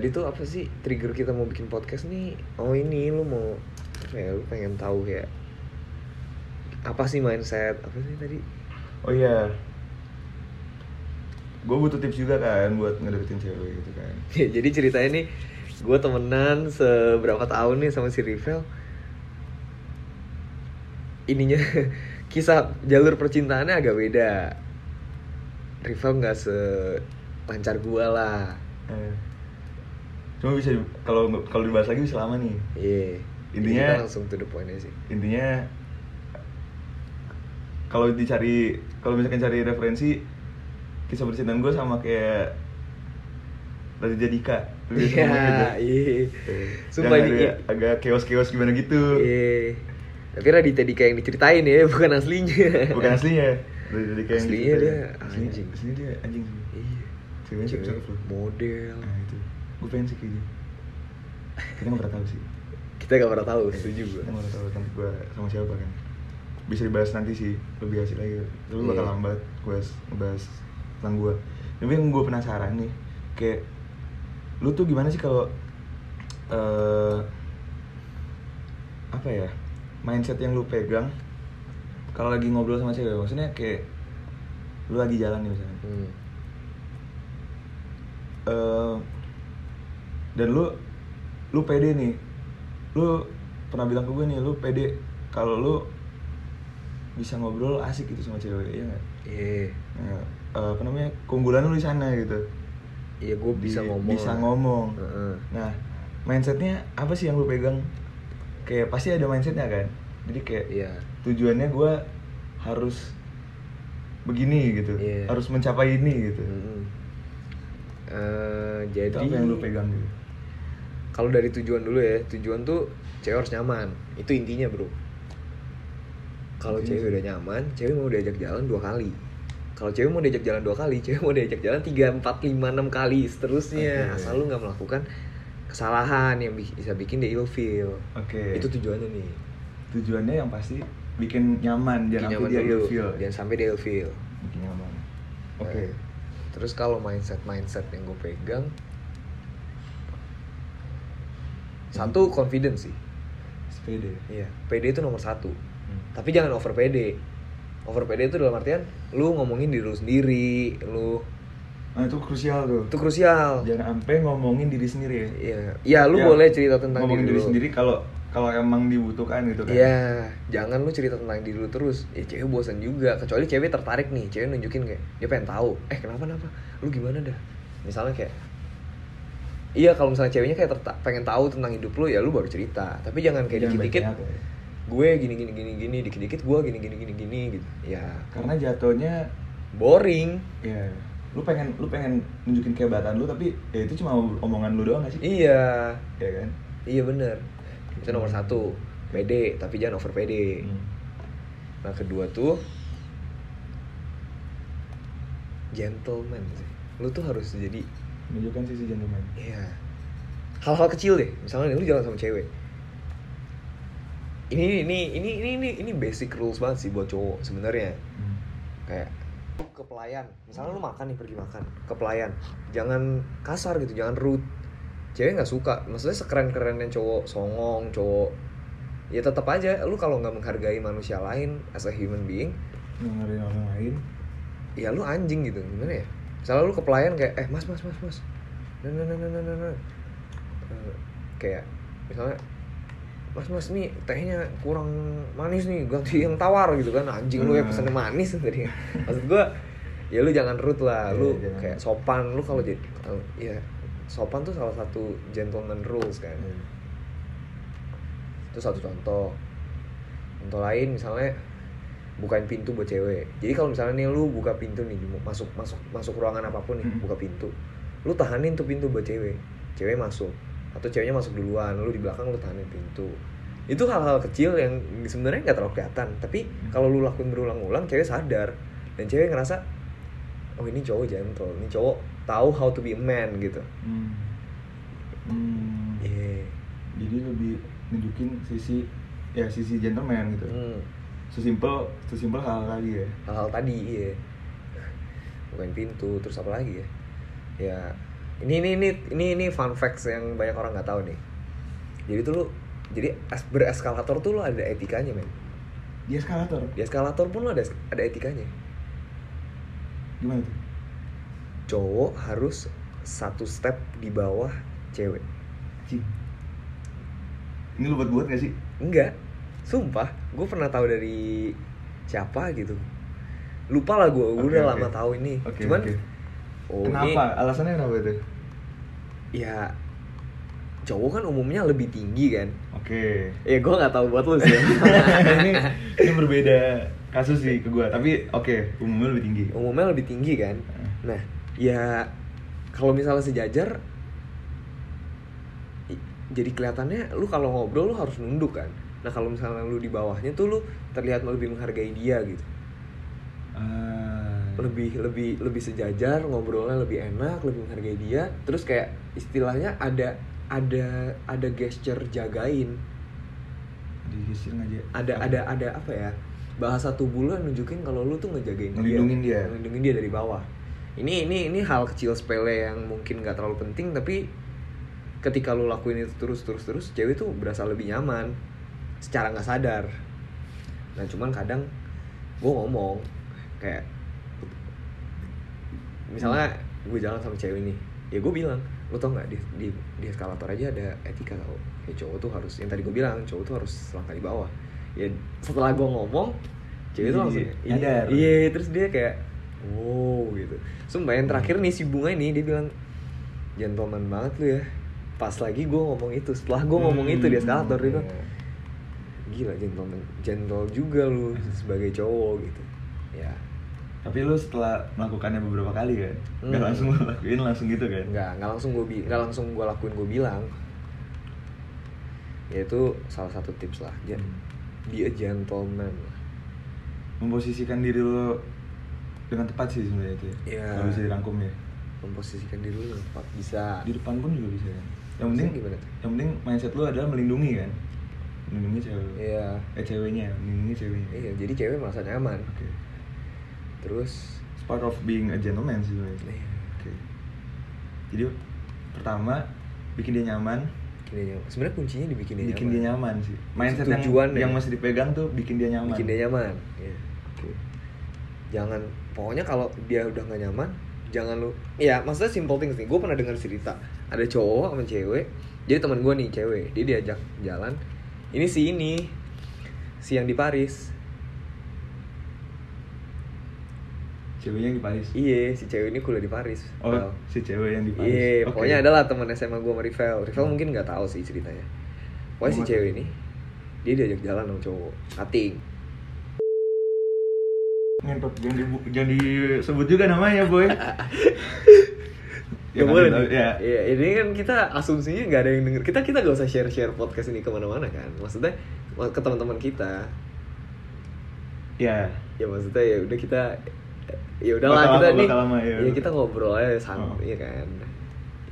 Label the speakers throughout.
Speaker 1: Jadi tuh apa sih trigger kita mau bikin podcast nih? Oh ini lu mau apa ya? Lu pengen tahu kayak apa sih mindset? Apa sih tadi?
Speaker 2: Oh iya. Gue butuh tips juga kan buat ngedeketin cewek gitu kan.
Speaker 1: Ya, jadi ceritanya nih gue temenan seberapa tahun nih sama si Rivel. Ininya kisah jalur percintaannya agak beda. Rivel nggak se lancar gue lah.
Speaker 2: Eh. Cuma bisa di- kalau kalau dibahas lagi bisa lama nih.
Speaker 1: Iya. Jadi
Speaker 2: Intinya-
Speaker 1: kita langsung to the point aja sih.
Speaker 2: Intinya kalau dicari kalau misalkan cari referensi kisah percintaan gue sama kayak Raditya Dika. Lebih sama gitu.
Speaker 1: Iya, iya.
Speaker 2: Eh,
Speaker 1: Sumpah
Speaker 2: yang
Speaker 1: ini
Speaker 2: agak, agak keos-keos gimana gitu.
Speaker 1: Iya. Tapi Raditya Dika yang diceritain ya, bukan aslinya. Iya.
Speaker 2: Bukan aslinya. Raditya Dika yang
Speaker 1: Aslinya
Speaker 2: diceritain.
Speaker 1: dia
Speaker 2: aslinya,
Speaker 1: anjing.
Speaker 2: aslinya dia anjing sih.
Speaker 1: Iya.
Speaker 2: Ceweknya
Speaker 1: Cewek,
Speaker 2: cakep-cakep loh.
Speaker 1: Model.
Speaker 2: Nah itu, gue pengen sih kayak gitu Kita nggak pernah tahu sih
Speaker 1: Kita gak pernah tahu, setuju gue.
Speaker 2: Kita nggak pernah tahu cantik gue sama siapa kan Bisa dibahas nanti sih, lebih asik lagi Lu bakal
Speaker 1: Iya.
Speaker 2: lambat gue ngebahas tentang gue Tapi yang gue penasaran nih Kayak, lu tuh gimana sih kalau eh Apa ya, mindset yang lu pegang kalau lagi ngobrol sama cewek, maksudnya kayak lu lagi jalan nih misalnya
Speaker 1: Hmm.
Speaker 2: Eh, dan lu lu pede nih lu pernah bilang ke gue nih lu pede kalau lu bisa ngobrol asik gitu sama cewek ya nggak
Speaker 1: Iya.
Speaker 2: Nah, eh, apa namanya keunggulan lu di sana gitu
Speaker 1: Iya, gue
Speaker 2: Di-
Speaker 1: bisa ngomong.
Speaker 2: bisa
Speaker 1: lah.
Speaker 2: ngomong
Speaker 1: Heeh.
Speaker 2: nah mindsetnya apa sih yang lu pegang kayak pasti ada mindsetnya kan jadi kayak
Speaker 1: Iya.
Speaker 2: tujuannya gue harus begini gitu
Speaker 1: Iya.
Speaker 2: harus mencapai ini gitu
Speaker 1: Mm-mm. Hmm. Eh,
Speaker 2: itu
Speaker 1: jadi
Speaker 2: apa yang lu pegang gitu
Speaker 1: Kalau dari tujuan dulu ya, tujuan tuh cewek harus nyaman. Itu intinya, Bro. Kalau
Speaker 2: Intinya
Speaker 1: cewek
Speaker 2: sih.
Speaker 1: udah nyaman, cewek mau diajak jalan dua kali. Kalau cewek mau diajak jalan dua kali, cewek mau diajak jalan tiga, empat, lima, enam kali seterusnya.
Speaker 2: Oke.
Speaker 1: Asal lu nggak melakukan kesalahan yang bi- bisa bikin dia ilfeel.
Speaker 2: oke
Speaker 1: Itu tujuannya nih.
Speaker 2: tujuannya yang pasti bikin nyaman
Speaker 1: Bikin
Speaker 2: jangan
Speaker 1: nyaman
Speaker 2: sampai dia
Speaker 1: dulu,
Speaker 2: ill feel
Speaker 1: Jangan sampai dia ilfeel.
Speaker 2: bikin nyaman oke
Speaker 1: Nah, terus kalau mindset mindset yang gue pegang, satu confidence sih.
Speaker 2: sepede
Speaker 1: Iya. PD itu nomor satu.
Speaker 2: Hmm.
Speaker 1: Tapi jangan over PD. Over PD itu dalam artian lu ngomongin diri lu sendiri, lu
Speaker 2: nah itu krusial tuh
Speaker 1: itu krusial.
Speaker 2: jangan sampai ngomongin diri sendiri ya
Speaker 1: Iya. Iya, lu
Speaker 2: Ya,
Speaker 1: boleh cerita tentang
Speaker 2: ngomongin diri,
Speaker 1: lu.
Speaker 2: sendiri kalau kalau emang dibutuhkan gitu kan
Speaker 1: Iya, jangan lu cerita tentang diri lu terus. Ya cewek bosan juga, kecuali cewek tertarik nih, cewek nunjukin kayak dia pengen tahu. Eh, kenapa napa? Lu gimana dah? Misalnya kayak Iya, kalau misalnya ceweknya kayak terta- pengen tahu tentang hidup lu ya lu baru cerita. Tapi jangan kayak
Speaker 2: Jangan
Speaker 1: dikit-dikit
Speaker 2: banyak ya.
Speaker 1: gue gini gini gini gini dikit-dikit gue gini gini gini gini gitu. Ya,
Speaker 2: karena jatuhnya
Speaker 1: boring.
Speaker 2: ya lu pengen lu pengen nunjukin kehebatan lu tapi ya itu cuma omongan lu doang gak sih
Speaker 1: Iya.
Speaker 2: ya kan
Speaker 1: Iya bener. Itu nomor satu. PD, tapi jangan over PD.
Speaker 2: Hmm.
Speaker 1: Nah kedua tuh gentleman sih. Lu tuh harus jadi
Speaker 2: menunjukkan sisi gentleman
Speaker 1: ya hal-hal kecil deh. Misalnya nih, lu jalan sama cewek. Ini ini ini ini ini ini basic rules banget sih buat cowok sebenarnya.
Speaker 2: Hmm.
Speaker 1: Kayak lu ke pelayan, misalnya lu makan nih pergi makan ke pelayan, jangan kasar gitu, jangan rude. Cewek nggak suka, maksudnya sekeren-kerennya cowok songong, cowok ya tetap aja lu kalau nggak menghargai manusia lain as a human being
Speaker 2: dengerin orang lain
Speaker 1: ya lu anjing gitu gimana ya misalnya lu ke pelayan kayak eh mas mas mas mas nah nah nah nah nah, nah, nah." Eh, kayak misalnya mas mas nih tehnya kurang manis nih ganti yang tawar gitu kan anjing lu ya
Speaker 2: Hmm.
Speaker 1: pesennya manis tadi maksud gua ya lu jangan rude lah lu
Speaker 2: Iya, jangan.
Speaker 1: kayak sopan lu kalau jadi kalau- ya sopan tuh salah satu gentleman rules kan itu satu contoh contoh lain misalnya bukain pintu buat cewek jadi kalau misalnya nih lu buka pintu nih masuk masuk masuk ruangan apapun nih
Speaker 2: Hmm.
Speaker 1: buka pintu lu tahanin tuh pintu buat cewek cewek masuk atau ceweknya masuk duluan lu di belakang lu tahanin pintu itu hal-hal kecil yang sebenarnya nggak terlalu kelihatan tapi kalau lu lakuin berulang-ulang cewek sadar dan cewek ngerasa oh ini cowok gentle ini cowok tahu how to be a man gitu
Speaker 2: Hmm. Hmm.
Speaker 1: Iya.
Speaker 2: jadi lebih nunjukin sisi ya sisi gentleman gitu
Speaker 1: Hmm.
Speaker 2: sesimpel sesimpel hal lagi ya
Speaker 1: hal-hal tadi iya bukain pintu terus apa lagi ya ya ini ini ini ini ini fun facts yang banyak orang nggak tahu nih jadi tuh lu jadi es- bereskalator tuh lu ada etikanya men
Speaker 2: Di eskalator.
Speaker 1: di eskalator pun lu ada es- ada etikanya
Speaker 2: Gimana tuh?
Speaker 1: cowok harus satu step di bawah cewek
Speaker 2: Cik. Ini lu buat-buat gak sih?
Speaker 1: enggak sumpah gue pernah tahu dari siapa gitu lupa lah gue
Speaker 2: Oke,
Speaker 1: udah
Speaker 2: oke.
Speaker 1: lama tahu ini
Speaker 2: Oke,
Speaker 1: cuman
Speaker 2: oke.
Speaker 1: oh ini
Speaker 2: Kenapa? Alasannya kenapa itu?
Speaker 1: ya cowok kan umumnya lebih tinggi kan
Speaker 2: Oke.
Speaker 1: ya gue nggak tahu buat lu sih
Speaker 2: ini ini berbeda kasus sih ke gua, tapi oke, umumnya lebih tinggi.
Speaker 1: umumnya lebih tinggi kan nah ya kalau misalnya sejajar i- jadi kelihatannya lu kalau ngobrol lu harus nunduk kan nah kalau misalnya lu di bawahnya tuh lu terlihat lebih menghargai dia gitu
Speaker 2: Ah.
Speaker 1: lebih lebih lebih sejajar ngobrolnya lebih enak lebih menghargai dia terus kayak istilahnya ada ada ada gesture jagain
Speaker 2: digeser aja.
Speaker 1: ada ada ada apa ya bahasa tubuh lu yang nunjukin kalau lu tuh ngejagain
Speaker 2: Ngelindungin dia.
Speaker 1: ngelindungin dia dari bawah ini ini ini hal kecil sepele yang mungkin nggak terlalu penting tapi ketika lu lakuin itu terus terus terus cewek tuh berasa lebih nyaman secara nggak sadar nah cuman kadang gue ngomong kayak misalnya gue jalan sama cewek nih ya gue bilang lo tau nggak di, di di eskalator aja ada etika tau ya cowok tuh harus yang tadi gue bilang cowok tuh harus selangkah di bawah ya setelah gue ngomong cewek tuh
Speaker 2: Jadi
Speaker 1: langsung iya
Speaker 2: nyadar.
Speaker 1: iya terus dia kayak wow gitu sumpah yang terakhir nih si bunga ini dia bilang gentleman banget lu ya pas lagi gue ngomong itu setelah gue ngomong itu di eskalator dia bilang gila gentleman gentle juga lu sebagai cowok gitu ya
Speaker 2: Tapi lu setelah melakukannya beberapa kali kan,
Speaker 1: Hmm.
Speaker 2: nggak langsung lu lakuin langsung gitu kan?
Speaker 1: nggak nggak langsung gue bi nggak langsung gue lakuin gue bilang ya itu salah satu tips lah dia
Speaker 2: Hmm.
Speaker 1: be a gentleman lah.
Speaker 2: Memposisikan diri lu dengan tepat sih sebenarnya itu.
Speaker 1: Iya.
Speaker 2: Kalau bisa dirangkum ya.
Speaker 1: memposisikan diri lu dengan tepat bisa
Speaker 2: Di depan pun juga bisa kan. Yang
Speaker 1: Maksudnya
Speaker 2: penting
Speaker 1: gimana tuh?
Speaker 2: Yang penting mindset lu adalah melindungi kan. Melindungi cewek lu.
Speaker 1: iya
Speaker 2: Eh ceweknya, melindungi ceweknya.
Speaker 1: iya jadi cewek merasa nyaman
Speaker 2: Oke.
Speaker 1: terus
Speaker 2: It's part of being a gentleman sih sebenarnya.
Speaker 1: Iya.
Speaker 2: Oke. Jadi pertama bikin dia nyaman,
Speaker 1: bikin dia nyaman sebenarnya kuncinya dibikin dia
Speaker 2: bikin dia
Speaker 1: nyaman
Speaker 2: nyaman sih. Mindset yang
Speaker 1: Tujuannya.
Speaker 2: yang masih dipegang tuh bikin dia nyaman.
Speaker 1: bikin dia nyaman Iya.
Speaker 2: Oke.
Speaker 1: jangan pokoknya kalau dia udah nggak nyaman jangan lu ya maksudnya simple things nih gue pernah dengar cerita ada cowok sama cewek jadi teman gue nih cewek dia diajak jalan ini si ini si yang di Paris
Speaker 2: Ceweknya yang di Paris.
Speaker 1: iya si cewek ini kuliah di Paris
Speaker 2: Oh,
Speaker 1: Well,
Speaker 2: si cewek yang di Paris.
Speaker 1: Iya,
Speaker 2: Oke.
Speaker 1: pokoknya adalah teman SMA gue sama Rivel. Rivel mungkin nggak tahu sih ceritanya. Pokoknya si
Speaker 2: Gimana?
Speaker 1: cewek ini dia diajak jalan sama cowok cutting.
Speaker 2: Ngentot, jangan, dibu- jangan disebut juga namanya, boy.
Speaker 1: Ya,
Speaker 2: kan,
Speaker 1: boleh
Speaker 2: tahu-
Speaker 1: nih.
Speaker 2: Ya.
Speaker 1: Iya, ini kan kita asumsinya nggak ada yang denger. Kita kita gak usah share share podcast ini kemana-mana kan. Maksudnya ke teman-teman kita.
Speaker 2: Ya.
Speaker 1: Ya maksudnya ya udah kita ya
Speaker 2: Bakal
Speaker 1: udahlah kita
Speaker 2: lama,
Speaker 1: nih.
Speaker 2: bakal lama, ya.
Speaker 1: ya kita ngobrol aja santai
Speaker 2: Oh.
Speaker 1: ya kan.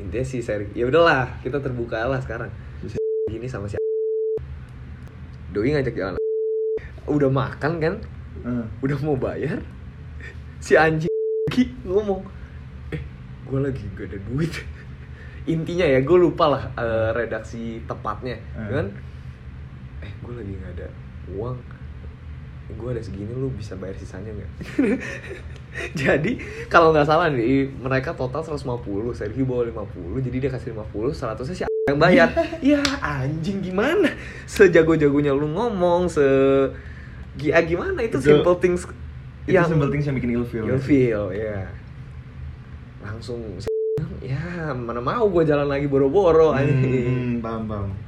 Speaker 1: Intinya sih seri. Ya udahlah, kita terbuka lah sekarang. Gini sama si Doi ngajak jalan. Udah makan kan?
Speaker 2: Eh,
Speaker 1: Udah mau bayar? Si anjing lagi ngomong, "Eh, gue lagi gak ada duit." Intinya ya, gue lupa lah eh, redaksi tepatnya,
Speaker 2: Hmm.
Speaker 1: kan? Eh, gue lagi gak ada uang. Gue ada segini, lu bisa bayar sisanya nggak? jadi kalau nggak salah nih, mereka total 150, Sergi bawa 50, jadi dia kasih 50, 100 si yang bayar. ya anjing gimana? Sejago-jagonya lu ngomong, se Gia gimana itu,
Speaker 2: Itu-
Speaker 1: simple things
Speaker 2: Itu simple things yang bikin ilfeel.
Speaker 1: You'll feel, ya. Langsung, ya mana mau gue jalan lagi boro-boro
Speaker 2: Hmm,
Speaker 1: anjing.
Speaker 2: paham, paham.